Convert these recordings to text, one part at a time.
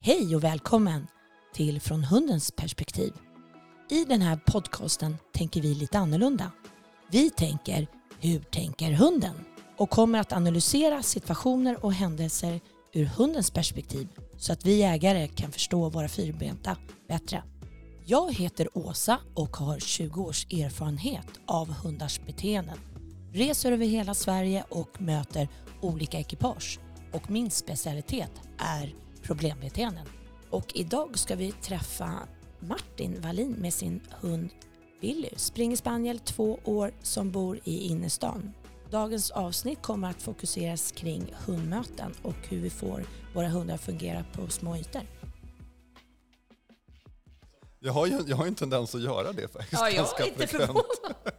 Hej och välkommen till Från hundens perspektiv. I den här podcasten tänker vi lite annorlunda. Vi tänker Hur tänker hunden? och kommer att analysera situationer och händelser ur hundens perspektiv så att vi ägare kan förstå våra fyrbenta bättre. Jag heter Åsa och har 20 års erfarenhet av hundars beteenden. Reser över hela Sverige och möter olika ekipage och min specialitet är problembeteenden. Och idag ska vi träffa Martin Wallin med sin hund Billy, springspaniel två år som bor i innerstan. Dagens avsnitt kommer att fokuseras kring hundmöten och hur vi får våra hundar att fungera på små ytor. Jag har ju jag har ju en tendens att göra det faktiskt. Ja, jag ganska är inte frekvent. förvånad.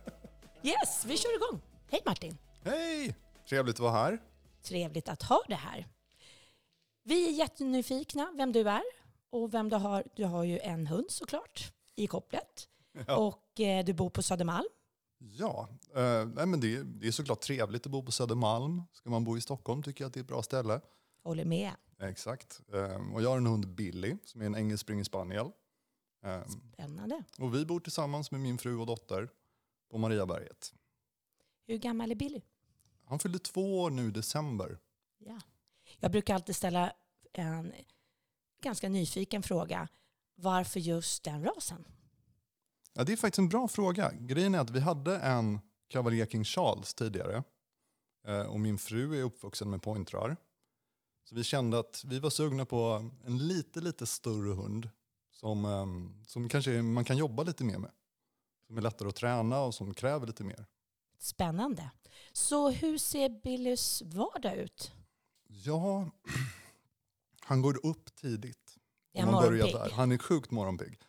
Yes, vi kör igång. Hej Martin! Hej! Trevligt att vara här. Trevligt att ha det här. Vi är jättenyfikna vem du är och vem du har. Du har ju en hund såklart i kopplet Ja. och eh, du bor på Södermalm. Ja, eh, nej, men det, är- det är såklart trevligt att bo på Södermalm. Ska man bo i Stockholm tycker jag att det är ett bra ställe. Håller med. Exakt. Eh, och jag har en hund, Billy, som är en engelsk springer spaniel. Eh, Spännande. och vi bor tillsammans med min fru och dotter på Mariaberget. Hur gammal är Billy? Han fyllde två år nu i december. Ja. Jag brukar alltid ställa en ganska nyfiken fråga. Varför just den rasen? Ja, det är faktiskt en bra fråga. Grejen är att vi hade en Cavalier King Charles tidigare. Eh, Och min fru är uppvuxen med pointrar. Så vi kände att vi var sugna på en lite, lite större hund. Som, eh, som kanske man kan jobba lite mer med. Som är lättare att träna och som kräver lite mer. Spännande. Så hur ser Billys vardag ut? Ja, han går upp tidigt. Är Om han man börjar morgonpigg? där. Han är sjukt morgonpigg.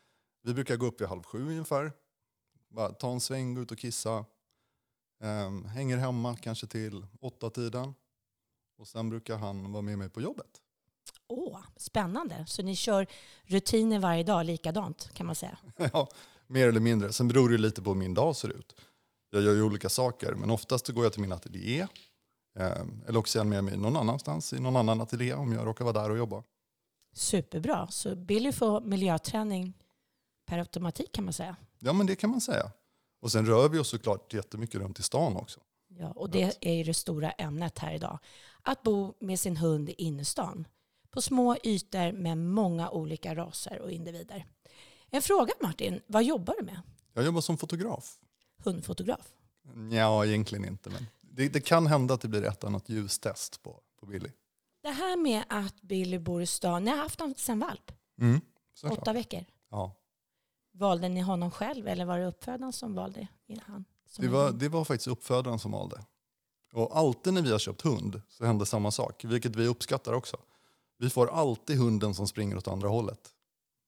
Vi brukar gå upp vid halv sju ungefär. Bara ta en sväng, gå ut och kissa. Ehm, hänger hemma kanske till åtta tiden. Och sen brukar han vara med mig på jobbet. Åh, spännande. Så ni kör rutiner varje dag likadant kan man säga. ja, mer eller mindre. Sen beror det ju lite på hur min dag ser ut. Jag gör ju olika saker, men oftast så går jag till min ateljé. Ehm, eller också är han med mig någon annanstans, i någon annan ateljé om jag råkar vara där och jobba. Superbra. Så Billy får miljöträning per automatik kan man säga. Ja, men det kan man säga. Och sen rör vi oss såklart jättemycket runt i stan också. Ja, och det är ju det stora ämnet här idag. Att bo med sin hund i innerstan. På små ytor med många olika raser och individer. En fråga Martin, vad jobbar du med? Jag jobbar som fotograf. Hundfotograf? Ja, egentligen inte. Men det, det kan hända att det blir ett annat ljustest på, på Billy. Det här med att Billy bor i stan, ni har haft honom sedan valp, Mm, åtta såklart. veckor. Ja. Valde ni honom själv eller var det uppfödaren som valde in han? som Det, en var, hund? det var faktiskt uppfödaren som valde. Och alltid när vi har köpt hund så händer samma sak, vilket vi uppskattar också. Vi får alltid hunden som springer åt andra hållet.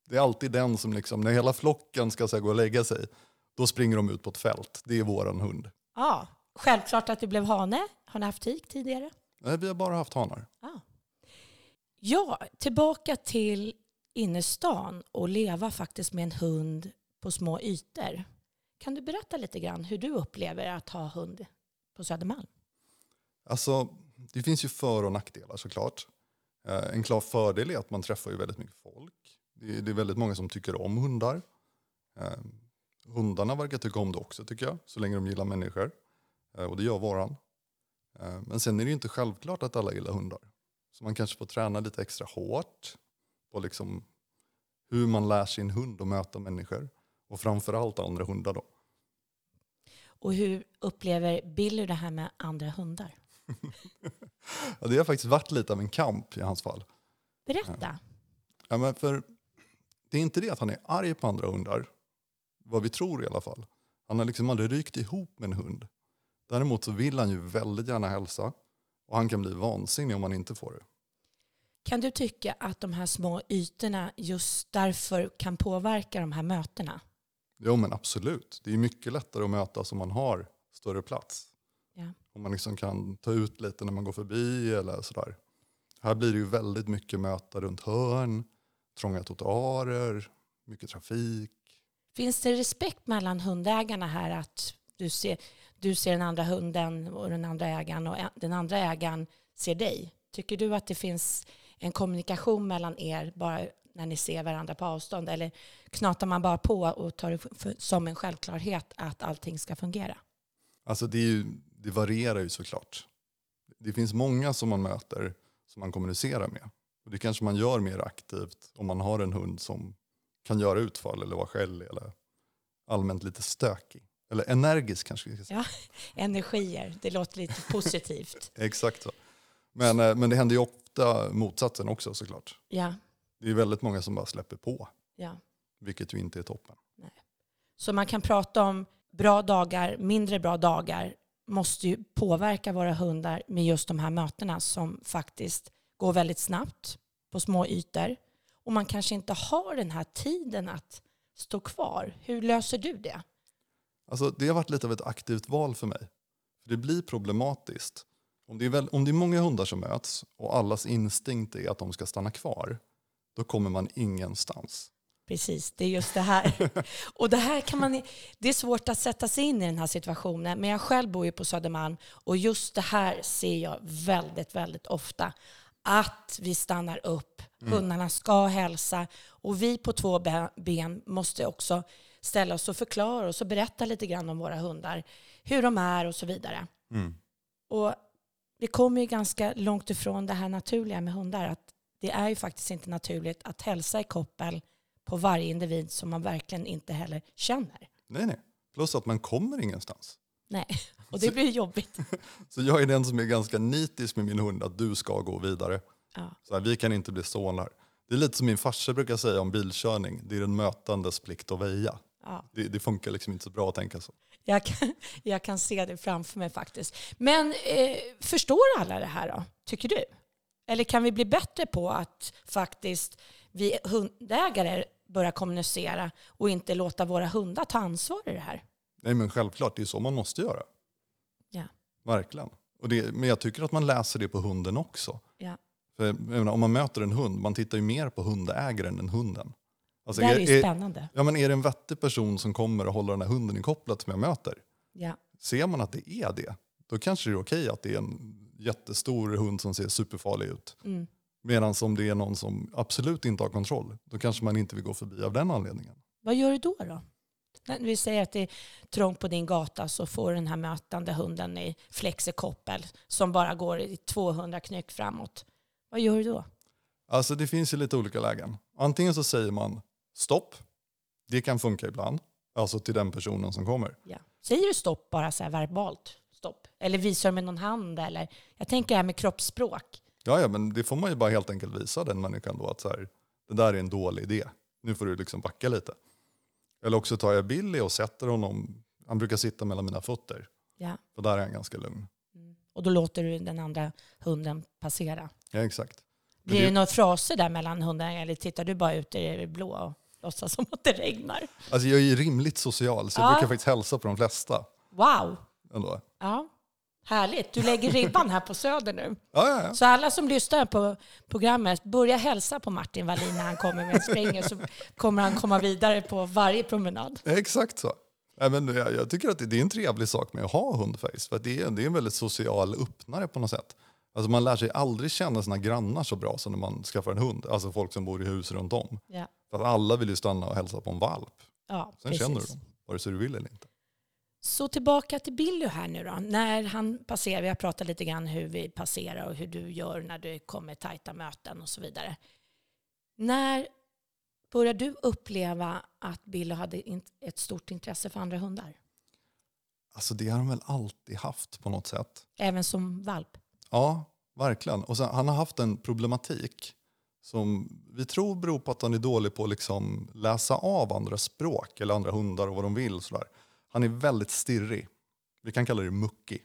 Det är alltid den som, liksom, när hela flocken ska så här, gå och lägga sig, då springer de ut på ett fält. Det är våran hund. Ja, självklart att det blev hane. Har ni haft tik tidigare? Nej, vi har bara haft hanar. Ja. Ah. ja, tillbaka till innerstan och leva faktiskt med en hund på små ytor. Kan du berätta lite grann hur du upplever att ha hund på Södermalm? Alltså, det finns ju för och nackdelar såklart. Eh, En klar fördel är att man träffar ju väldigt mycket folk. Det är, det är väldigt många som tycker om hundar. Eh, Hundarna verkar tycka om det också tycker jag, så länge de gillar människor. Eh, Och det gör varan. Eh, Men sen är det ju inte självklart att alla gillar hundar. Så man kanske får träna lite extra hårt på liksom hur man lär sin hund att möta människor. Och framförallt andra hundar då. Och hur upplever Billy det här med andra hundar? Ja, det har faktiskt varit lite av en kamp i hans fall. Berätta. Ja, men för det är inte det att han är arg på andra hundar, vad vi tror i alla fall. Han har liksom aldrig rykt ihop med en hund. Däremot så vill han ju väldigt gärna hälsa och han kan bli vansinnig om han inte får det. Kan du tycka att de här små ytorna just därför kan påverka de här mötena? Jo men absolut, det är mycket lättare att mötas om man har större plats. Ja. Om man liksom kan ta ut lite när man går förbi eller sådär. Här blir det ju väldigt mycket möta runt hörn, trånga trottoarer, mycket trafik. Finns det respekt mellan hundägarna här att du ser, du ser den andra hunden och den andra ägaren och ä- den andra ägaren ser dig? Tycker du att det finns en kommunikation mellan er bara när ni ser varandra på avstånd? Eller knatar man bara på och tar det för, som en självklarhet att allting ska fungera? Alltså det, är ju, det varierar ju såklart. Det finns många som man möter som man kommunicerar med. Och det kanske man gör mer aktivt om man har en hund som kan göra utfall eller vara skällig eller allmänt lite stökig. Eller energisk kanske vi ska säga. Energier, det låter lite positivt. Exakt så. Men, eh, men det händer ju ofta motsatsen också såklart. Ja, Det är väldigt många som bara släpper på, ja. vilket ju inte är toppen. Så man kan prata om bra dagar, mindre bra dagar måste ju påverka våra hundar med just de här mötena som faktiskt går väldigt snabbt på små ytor. Och man kanske inte har den här tiden att stå kvar. Hur löser du det? Alltså, det har varit lite av ett aktivt val för mig. För Det blir problematiskt. Om det, är väl, om det är många hundar som möts och allas instinkt är att de ska stanna kvar, då kommer man ingenstans. Precis, det är just det här. Och det här kan man, det är svårt att sätta sig in i den här situationen, men jag själv bor ju på Södermalm och just det här ser jag väldigt, väldigt ofta. Att vi stannar upp, hundarna ska hälsa och vi på två be- ben måste också ställa oss och förklara oss och berätta lite grann om våra hundar, hur de är och så vidare. Och vi kommer ju ganska långt ifrån det här naturliga med hundar. Att det är ju faktiskt inte naturligt att hälsa i koppel på varje individ som man verkligen inte heller känner. Nej, nej. Plus att man kommer ingenstans. Nej, och det blir ju jobbigt. Så jag är den som är ganska nitisk med min hund att du ska gå vidare. Ja. Så här, vi kan inte bli sonar. Det är lite som min farsa brukar säga om bilkörning. Det är den mötandes plikt att väja. Ja, Det, det funkar liksom inte så bra att tänka så. jag, kan, jag kan se det framför mig faktiskt. Men eh, förstår alla det här då, tycker du? Eller kan vi bli bättre på att faktiskt vi hundägare börjar kommunicera och inte låta våra hundar ta ansvar i det här? Nej men självklart, det är så man måste göra. Ja. Verkligen. Och det, men jag tycker att man läser det på hunden också. Ja. För, jag menar, om man möter en hund, man tittar ju mer på hundägaren än hunden. Alltså, Det här är ju är, är, spännande. ja, men är det en vettig person som kommer och håller den här hunden i kopplet som jag möter? Ja. Ser man att det är det, då kanske det är okej att det är en jättestor hund som ser superfarlig ut. Mm. Medan om det är någon som absolut inte har kontroll, då kanske man inte vill gå förbi av den anledningen. Vad gör du då? då? När vi säger att det är trångt på din gata så får den här mötande hunden i flexikoppel som bara går i 200 knyck framåt. Vad gör du då? Alltså det finns ju lite olika lägen. Antingen så säger man stopp, det kan funka ibland, alltså till den personen som kommer. Ja. Säger du stopp bara så här verbalt? Stopp. Eller visar du med någon hand? Eller? Jag tänker det här med kroppsspråk. Ja, ja, men det får man ju bara helt enkelt visa den människan då att så här, det där är en dålig idé. Nu får du liksom backa lite. Eller också tar jag Billy och sätter honom, han brukar sitta mellan mina fötter, Ja. för där är han ganska lugn. Och då låter du den andra hunden passera. Ja, exakt. Men Blir det- det några fraser där mellan hundarna eller tittar du bara ut i det blå och låtsas som att det regnar? Alltså jag är ju rimligt social, så jag Ja. brukar faktiskt hälsa på de flesta. Wow! Ändå. Ja. Härligt. Du lägger ribban här på Söder nu. Ja, ja, ja. Så alla som lyssnar på programmet, börja hälsa på Martin Wallin när han kommer med en springer så kommer han komma vidare på varje promenad. Ja, Exakt så. Nej, men jag, jag tycker att det, det är en trevlig sak med att ha hund faktiskt. För att det, är, det är en väldigt social öppnare på något sätt. Alltså man lär sig aldrig känna sina grannar så bra som när man skaffar en hund. Alltså folk som bor i hus runt om. Ja, För att alla vill ju stanna och hälsa på en valp. ja Sen känner du precis. dem, vare sig du vill eller inte. Så tillbaka till Billy här nu då. När han passerar, vi har pratat lite grann hur vi passerar och hur du gör när du kommer tajta möten och så vidare. När börjar du uppleva att Billy hade in- ett stort intresse för andra hundar? Alltså det har han väl alltid haft på något sätt. Även som valp? Ja, verkligen. Och sen, han har haft en problematik som vi tror beror på att han är dålig på att liksom läsa av andra språk eller andra hundar och vad de vill. Och sådär. Han är väldigt stirrig. Vi kan kalla det muckig.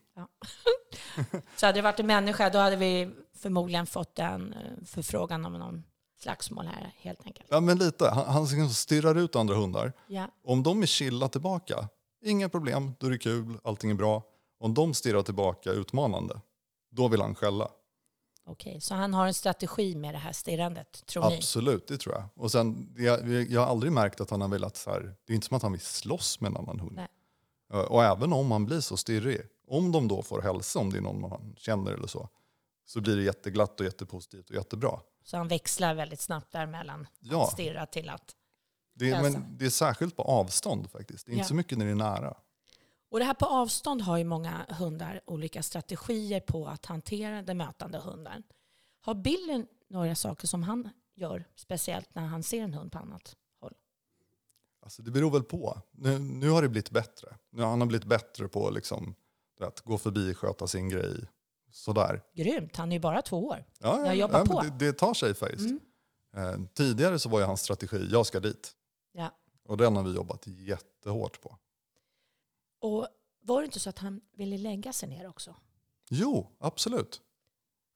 Så hade det varit en människa, då hade vi förmodligen fått en eh, förfrågan om någon slagsmål här helt enkelt. Ja, men lite. Han, han liksom stirrar ut andra hundar. Ja, Om de är chilla tillbaka, inga problem, då är det kul, allting är bra. Om de stirrar tillbaka utmanande, då vill han skälla. okej. Så han har en strategi med det här stirrandet, tror ni? Absolut, det tror jag. Och sen, jag, jag har aldrig märkt att han har velat så här, det är inte som att han vill slåss med en annan hund. Nej. Eh, Och även om han blir så stirrig, om de då får hälsa, om det är någon man känner eller så, så blir det jätteglatt och jättepositivt och jättebra. Så han växlar väldigt snabbt däremellan. Ja. Att stirra till att... Det är, Läsa. men det är särskilt på avstånd faktiskt. Det är inte Ja. så mycket när det är nära. Och det här på avstånd har ju många hundar olika strategier på att hantera den mötande hunden. Har Billy några saker som han gör, speciellt när han ser en hund på annat håll? Alltså det beror väl på. Nu, nu har det blivit bättre. Nu, han har blivit bättre på liksom, du vet, gå förbi, sköta sin grej. Sådär. Grymt, han är ju bara två år. Ja, Jag jobbar men på. Det, det tar sig faktiskt. Mm. Eh, tidigare så var ju hans strategi, jag ska dit. Ja. Och den har vi jobbat jättehårt på. Och var det inte så att han ville lägga sig ner också? Jo, absolut.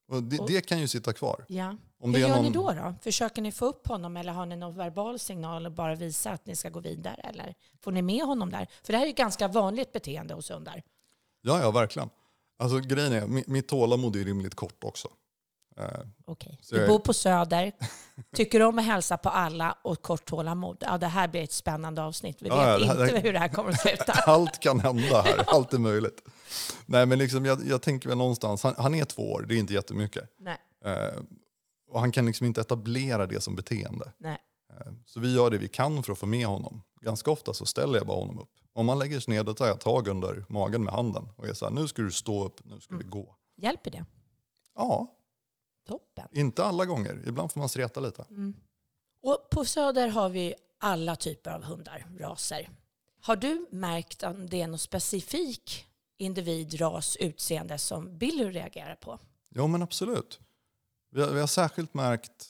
Och det, Och- det kan ju sitta kvar. Ja. Om Hur det är gör någon, ni då, då? Försöker ni få upp honom eller har ni någon verbal signal och bara visa att ni ska gå vidare? Eller får ni med honom där? För det här är ju ett ganska vanligt beteende hos hundar. Ja, ja, verkligen. Alltså grejen är, mi- mitt tålamod är ju rimligt kort också. Eh, Okej, Så du jag- bor på Söder, tycker om att hälsa på alla och kort tålamod. Ja, det här blir ett spännande avsnitt. Vi Ja, ja, vet det här- inte hur det här kommer att sluta. Allt kan hända här, allt är möjligt. Nej men liksom, jag, jag tänker väl någonstans, han, han är två år, det är inte jättemycket. Nej, Eh, och han kan liksom inte etablera det som beteende. nej. Eh, så vi gör det vi kan för att få med honom. Ganska ofta så ställer jag bara honom upp. Om han lägger sig ner då tar jag tag under magen med handen och är så här, nu ska du stå upp, nu ska vi gå. Hjälper det? Ja, Toppen. inte alla gånger, ibland får man streta lite. Och på Söder har vi alla typer av hundar, raser. Har du märkt om det är någon specifik individ, ras, utseende som Billy reagerar på? Ja men absolut. Vi har, vi har särskilt märkt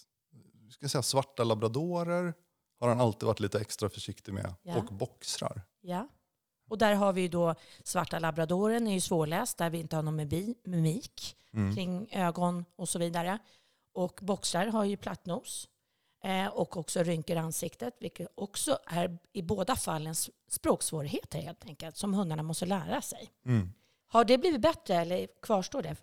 ska jag säga, svarta labradorer har han alltid varit lite extra försiktig med. Ja. Och boxrar. Ja. Och där har vi ju då svarta labradoren är ju svårläst där vi inte har någon mibi- mimik kring ögon och så vidare. Och boxrar har ju plattnos eh, och också rynkor i ansiktet vilket också är i båda fallen s- språksvårigheter helt enkelt som hundarna måste lära sig. Mm. Har det blivit bättre eller kvarstår det?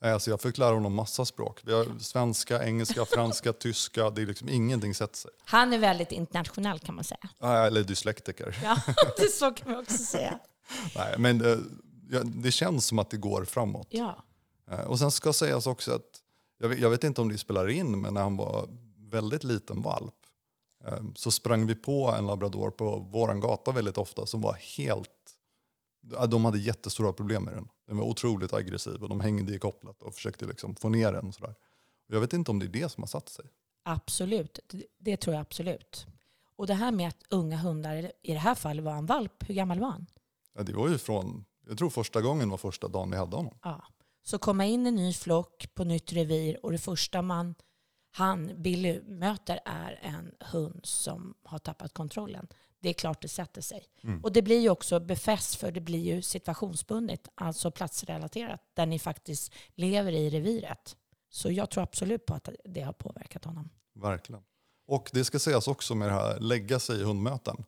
Nej, Alltså jag fick lära honom massa språk. Vi har svenska, engelska, franska, tyska. Det är liksom ingenting sätter sig. Han är väldigt internationell kan man säga. Nej, Eller dyslektiker. Ja, det så kan man också säga. Nej, men eh, ja, det känns som att det går framåt. Ja, Eh, Och sen ska sägas också att, jag vet, jag vet inte om det spelar in, men när han var väldigt liten valp eh, så sprang vi på en labrador på våran gata väldigt ofta som var helt, ja, de hade jättestora problem med den. Den var otroligt aggressiv och de hängde i kopplat och försökte liksom få ner den. och Sådär. Och jag vet inte om det är det som har satt sig. absolut. Det- Det tror jag absolut. Och det här med att unga hundar, i det här fallet var han valp, hur gammal var han? Ja, det var ju från, jag tror första gången var första dagen vi hade honom. Ja. Så komma in i en ny flock på nytt revir och det första man, han, Billy, möter är en hund som har tappat kontrollen. Det är klart det sätter sig. Och det blir ju också befäst för det blir ju situationsbundet, alltså platsrelaterat, där ni faktiskt lever i reviret. Så jag tror absolut på att det har påverkat honom. Verkligen. Och det ska sägas också med det här lägga sig i hundmöten.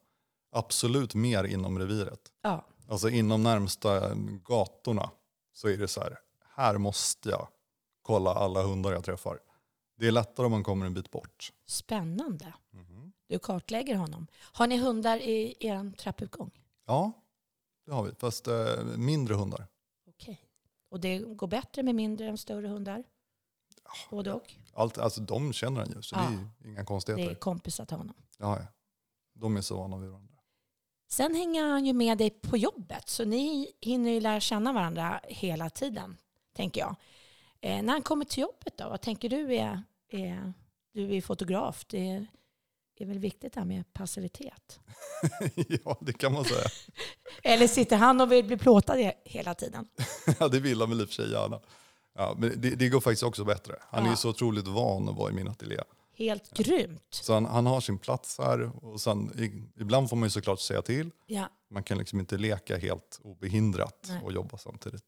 Absolut mer inom reviret. Ja, Alltså inom närmsta gatorna så är det så här, här måste jag kolla alla hundar jag träffar. Det är lättare om man kommer en bit bort. spännande. Du kartlägger honom. Har ni hundar i er trappuppgång? Ja, det har vi. Fast eh, mindre hundar. Okej. Och det går bättre med mindre än större hundar? Både och? Allt, alltså de känner en ju, så det är ju inga Det är konstigheter. kompisar till honom. Ja, ja. De är så vana vid varandra. Sen hänger han ju med dig på jobbet, så ni hinner ju lära känna varandra hela tiden, tänker jag. Eh, när han kommer till jobbet då, vad tänker du är, är du är fotograf, det är, är väl viktigt det här med passivitet? ja, det kan man säga. Eller sitter han och vill bli plåtad he- hela tiden? Ja, det vill han väl i och för sig gärna. Ja, men det, det går faktiskt också bättre. Han är Ja. ju så otroligt van att vara i min ateljé. Helt grymt. Så han, han har sin plats här och sen, i, ibland får man ju såklart säga till. Ja. Man kan liksom inte leka helt obehindrat Nej. och jobba samtidigt.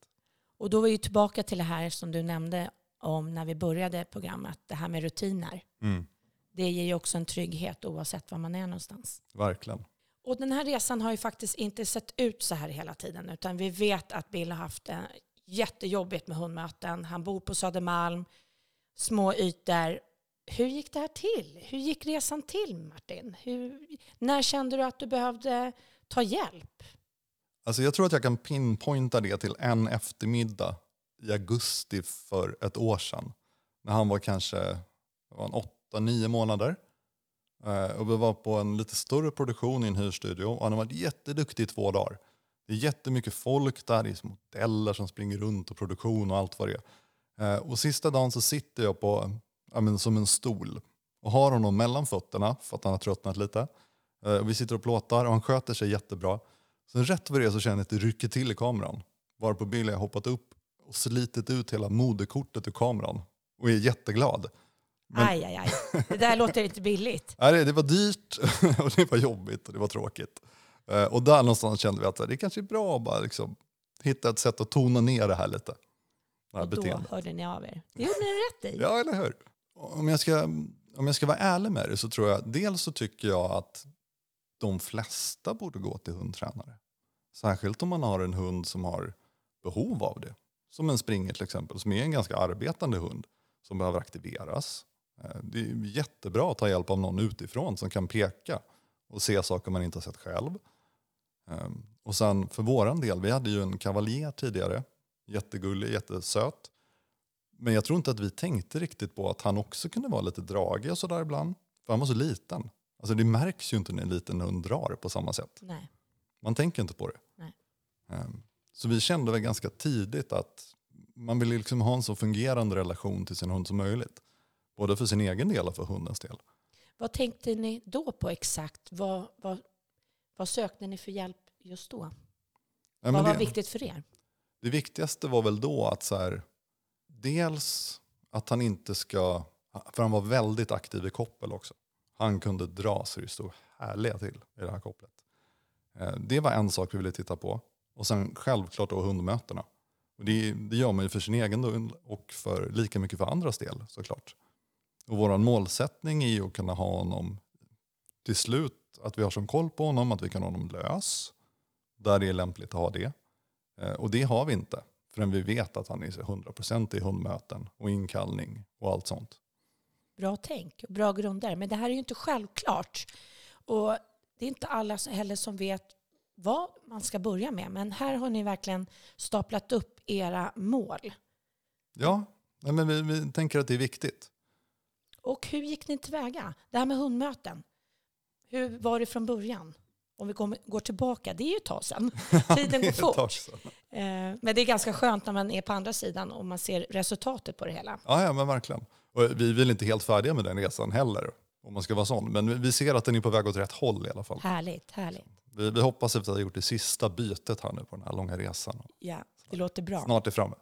Och då var ju tillbaka till det här som du nämnde om när vi började programmet, det här med rutiner. Det ger ju också en trygghet oavsett var man är någonstans. Verkligen. Och den här resan har ju faktiskt inte sett ut så här hela tiden, utan vi vet att Bill har haft det jättejobbigt med hundmöten. Han bor på Södermalm, små ytor. Hur gick det här till? Hur gick resan till, Martin? Hur, när kände du att du behövde ta hjälp? Alltså jag tror att jag kan pinpointa det till en eftermiddag i augusti för ett år sedan. När han var kanske vad var han, åtta, nio månader. Eh, Och vi var på en lite större produktion i en hyrstudio och han har varit jätteduktig i två dagar. Det är jättemycket folk där, det är små modeller som springer runt och produktion och allt vad det är. Eh, Och sista dagen så sitter jag på, ja, men som en stol och har honom mellan fötterna för att han har tröttnat lite. Eh, och Vi sitter och plåtar och han sköter sig jättebra. Sen rätt vad det är så känner jag att det rycker till i kameran. Varpå Billy har hoppat upp och slitit ut hela moderkortet ur kameran och är jätteglad. Men- Aj, aj, aj. Det där låter inte billigt. Nej, Äh, det- det var dyrt och det var jobbigt och det var tråkigt. Eh, Och där någonstans kände vi att så här, det kanske är bra att bara liksom hitta ett sätt att tona ner det här lite. Det här Och då beteendet. hörde ni av er. Det gjorde ni rätt i. Ja, eller hur? Om jag, ska, om jag ska vara ärlig med det så tror jag, dels så tycker jag att de flesta borde gå till hundtränare. Särskilt om man har en hund som har behov av det. Som en springer till exempel, som är en ganska arbetande hund som behöver aktiveras. Eh, Det är jättebra att ta hjälp av någon utifrån som kan peka och se saker man inte har sett själv. Eh, Och sen för våran del, vi hade ju en kavaljer tidigare. Jättegullig, jättesöt. Men jag tror inte att vi tänkte riktigt på att han också kunde vara lite dragig och sådär ibland. För han var så liten. Alltså det märks ju inte när en liten hund drar på samma sätt. Nej. Man tänker inte på det. Nej. Ehm, Så vi kände väl ganska tidigt att man vill liksom ha en så fungerande relation till sin hund som möjligt. Både för sin egen del och för hundens del. Ehm, Vad tänkte ni då på exakt? Vad, vad, vad sökte ni för hjälp just då? Nej, men vad var det- viktigt för er? Det viktigaste var väl då att så här, dels att han inte ska, för han var väldigt aktiv i koppel också. Han kunde dra så det stod härliga till i det här kopplet. Eh, Det var en sak vi ville titta på. Och sen självklart då hundmötena. Och det, det gör man ju för sin egen del och för lika mycket för andras del såklart. Och vår målsättning är ju att kunna ha honom till slut, att vi har som koll på honom, att vi kan ha honom lös. Där det är lämpligt att ha det. Eh, Och det har vi inte förrän vi vet att han är 100% i hundmöten och inkallning och allt sånt. Bra tänk och bra grunder. Men det här är ju inte självklart. Och det är inte alla så- heller som vet vad man ska börja med. Men här har ni verkligen staplat upp era mål. Ja, nej, men vi, vi tänker att det är viktigt. Och hur gick ni tillväga? Det här med hundmöten. Hur var det från början? Om vi går- går tillbaka, det är ju ett tag sedan. Tiden går Ett tag fort. sedan. Eh, Men det är ganska skönt när man är på andra sidan och man ser resultatet på det hela. Ja, ja, men verkligen. Och vi är väl inte helt färdiga med den resan heller, om man ska vara sån. Men vi- vi ser att den är på väg åt rätt håll i alla fall. Härligt, härligt. Vi, vi hoppas efter att ha gjort det sista bytet här nu på den här långa resan. Ja, det låter bra. Snart är framme.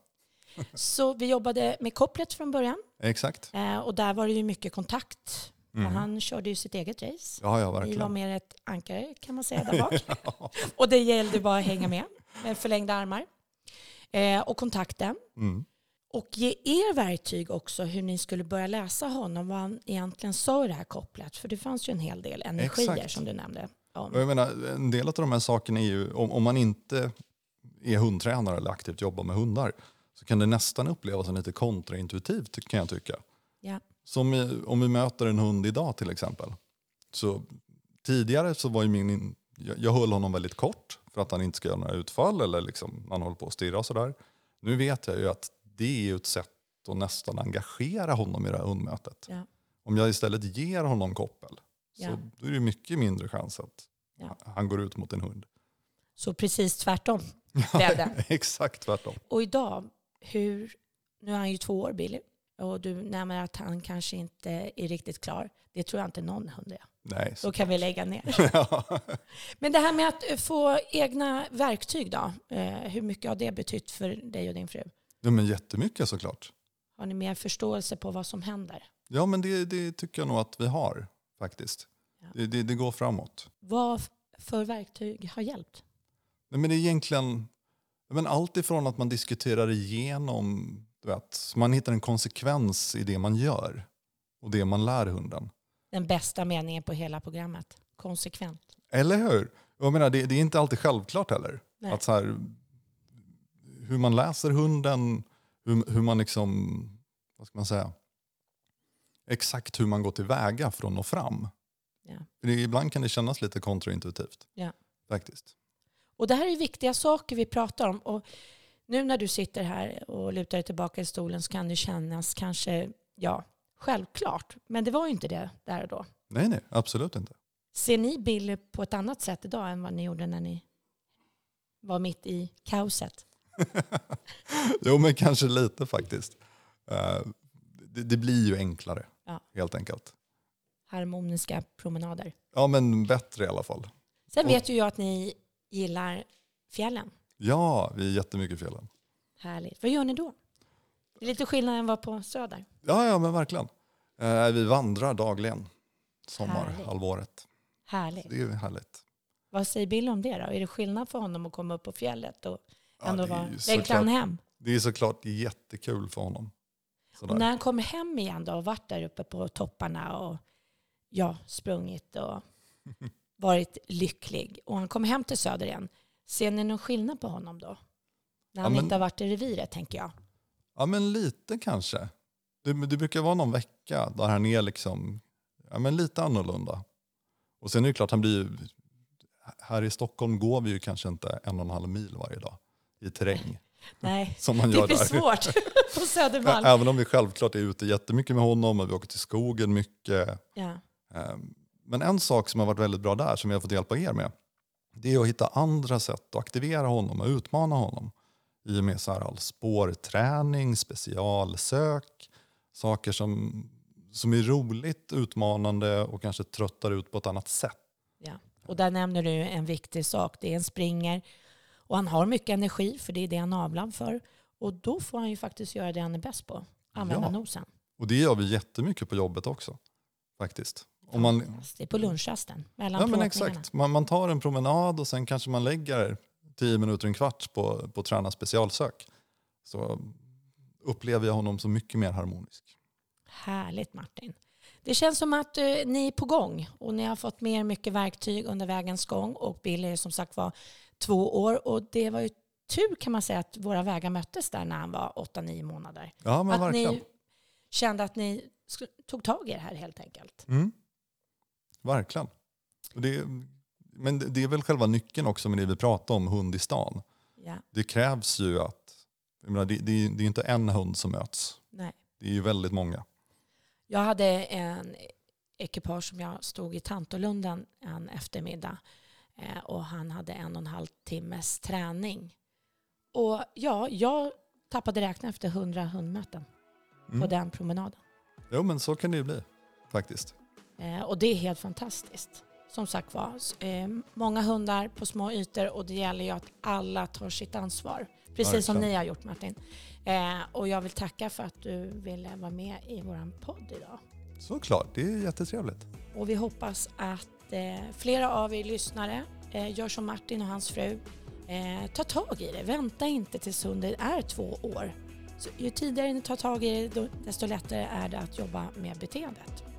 Så vi jobbade med kopplet från början. Exakt. Eh, och där var det ju mycket kontakt. Och han körde ju sitt eget race. Mhm. Ja, ja, Vi var verkligen. mer ett ankare kan man säga där bak. och det gällde bara att hänga med med förlängda armar. Eh, och kontakten. Mm. Och ge er verktyg också hur ni skulle börja läsa honom, vad han egentligen sa i det här kopplet. För det fanns ju en hel del energier Exakt. som du nämnde. Om. Och jag menar, en del av de här sakerna är ju, om, om man inte är hundtränare eller aktivt jobbar med hundar, så kan det nästan upplevas som lite kontraintuitivt ty- kan jag tycka. Ja. Som i, om vi möter en hund idag till exempel. Så tidigare så var ju min, in- jag, jag höll honom väldigt kort för att han inte ska göra några utfall eller liksom han håller på att stirra och sådär. Nu vet jag ju att det är ju ett sätt att nästan engagera honom i det här hundmötet. Ja. Om jag istället ger honom koppel Ja. så då är det mycket mindre chans att Ja. han går ut mot en hund. Så precis tvärtom blev det. Exakt tvärtom. Och idag, hur, nu är han ju två år Billy. Och du nämner att han kanske inte är riktigt klar. Det tror jag inte någon hund är. Nej, Då så, kan vi lägga ner. Men det här med att eh, få egna verktyg då, eh, hur mycket har det betytt för dig och din fru? ja, men jättemycket såklart. Har ni mer förståelse på vad som händer? Ja, men det, det tycker jag nog att vi har faktiskt. Ja. Det, det, det går framåt. Vad f- för verktyg har hjälpt? Nej, men det är egentligen men allt ifrån att man diskuterar igenom, du vet, man hittar en konsekvens i det man gör och det man lär hunden. Den bästa meningen på hela programmet. Konsekvent. Eller hur? Jag menar, det, det är inte alltid självklart heller. Nej. Att så här, hur man läser hunden, hur, hur man liksom, vad ska man säga, exakt hur man går tillväga för att nå fram. Ja. För det, ibland kan det kännas lite kontraintuitivt. Ja. Faktiskt. Och det här är viktiga saker vi pratar om. Och Nu när du sitter här och lutar dig tillbaka i stolen så kan det kännas kanske, ja, självklart. Men det var ju inte det där och då. Nej, nej, absolut inte. Ser ni Bill på ett annat sätt idag än vad ni gjorde när ni var mitt i kaoset? Jo, men kanske lite faktiskt. Eh, det, det blir ju enklare, Ja. helt enkelt. Harmoniska promenader. Ja, men bättre i alla fall. Sen Och- vet ju jag att ni gillar fjällen. Ja, vi är jättemycket i fjällen. Härligt. Vad gör ni då? Det är lite skillnad än vad på Söder. Ja, ja, men verkligen. Eh, Vi vandrar dagligen, sommarhalvåret. Härligt. Det är ju härligt. Vad säger Bill om det då? Är det skillnad för honom att komma upp på fjället och Ja, ändå det är vara... ju Längtar han såklart, hem? det är såklart jättekul för honom. Och Sådär. när han kommer hem igen då och varit där uppe på topparna och ja, sprungit och varit lycklig och han kommer hem till Söder igen, ser ni någon skillnad på honom då? När han Ja, men- inte har varit i reviret tänker jag. Ja, men lite kanske. Det, det brukar vara någon vecka där han är liksom, ja, men lite annorlunda. Och sen är det klart, han blir ju- här i Stockholm går vi ju kanske inte en och en halv mil varje dag i terräng. Nej, Som man det gör blir där. svårt på Södermalm. Även om vi självklart är ute jättemycket med honom och vi åker till skogen mycket. Ja. Ehm, Men en sak som har varit väldigt bra där, som vi har fått hjälpa er med, det är att hitta andra sätt att aktivera honom och utmana honom. I och med så här all spårträning, specialsök, saker som, som är roligt, utmanande och kanske tröttar ut på ett annat sätt. Och där nämner du en viktig sak. Det är en springer och han har mycket energi för det är det han är avlad för. Och då får han ju faktiskt göra det han är bäst på. Använda Ja. nosen. Och det gör vi jättemycket på jobbet också, faktiskt. Om man, Det är på lunchrasten, mellan ja, men plåtningarna. exakt. Man, man tar en promenad och sen kanske man lägger tio minuter, en kvart på, på att träna specialsök. Så upplever jag honom som mycket mer harmonisk. Härligt Martin. Det känns som att eh, ni är på gång och ni har fått mer mycket verktyg under vägens gång och Bill är som sagt var två år och det var ju tur kan man säga att våra vägar möttes där när han var 8-9 månader. Ja, men att verkligen. ni kände att ni sk- tog tag i det här helt enkelt. Mm. Verkligen. Och Det, men det- det är väl själva nyckeln också med det vi pratar om, hund i stan. Ja, Det krävs ju att, jag menar, det, det, är- det är inte en hund som möts. nej. Det är ju väldigt många. Jag hade en ekipage som jag stod i Tantolunden en eftermiddag eh, och han hade en och en halv timmes träning. Och ja, jag tappade räkna efter hundra hundmöten på Mm. den promenaden. Jo, men så kan det ju bli faktiskt. Eh, Och det är helt fantastiskt. Som sagt var, s- eh, många hundar på små ytor och det gäller ju att alla tar sitt ansvar. Precis som Verkligen. ni har gjort Martin. Eh, Och jag vill tacka för att du ville vara med i våran podd idag. Såklart, det är jättetrevligt. Och vi hoppas att eh, flera av er lyssnare eh, gör som Martin och hans fru. Eh, ta tag i det. Vänta inte tills hunden är två år. Så ju tidigare ni tar tag i det, då- desto lättare är det att jobba med beteendet.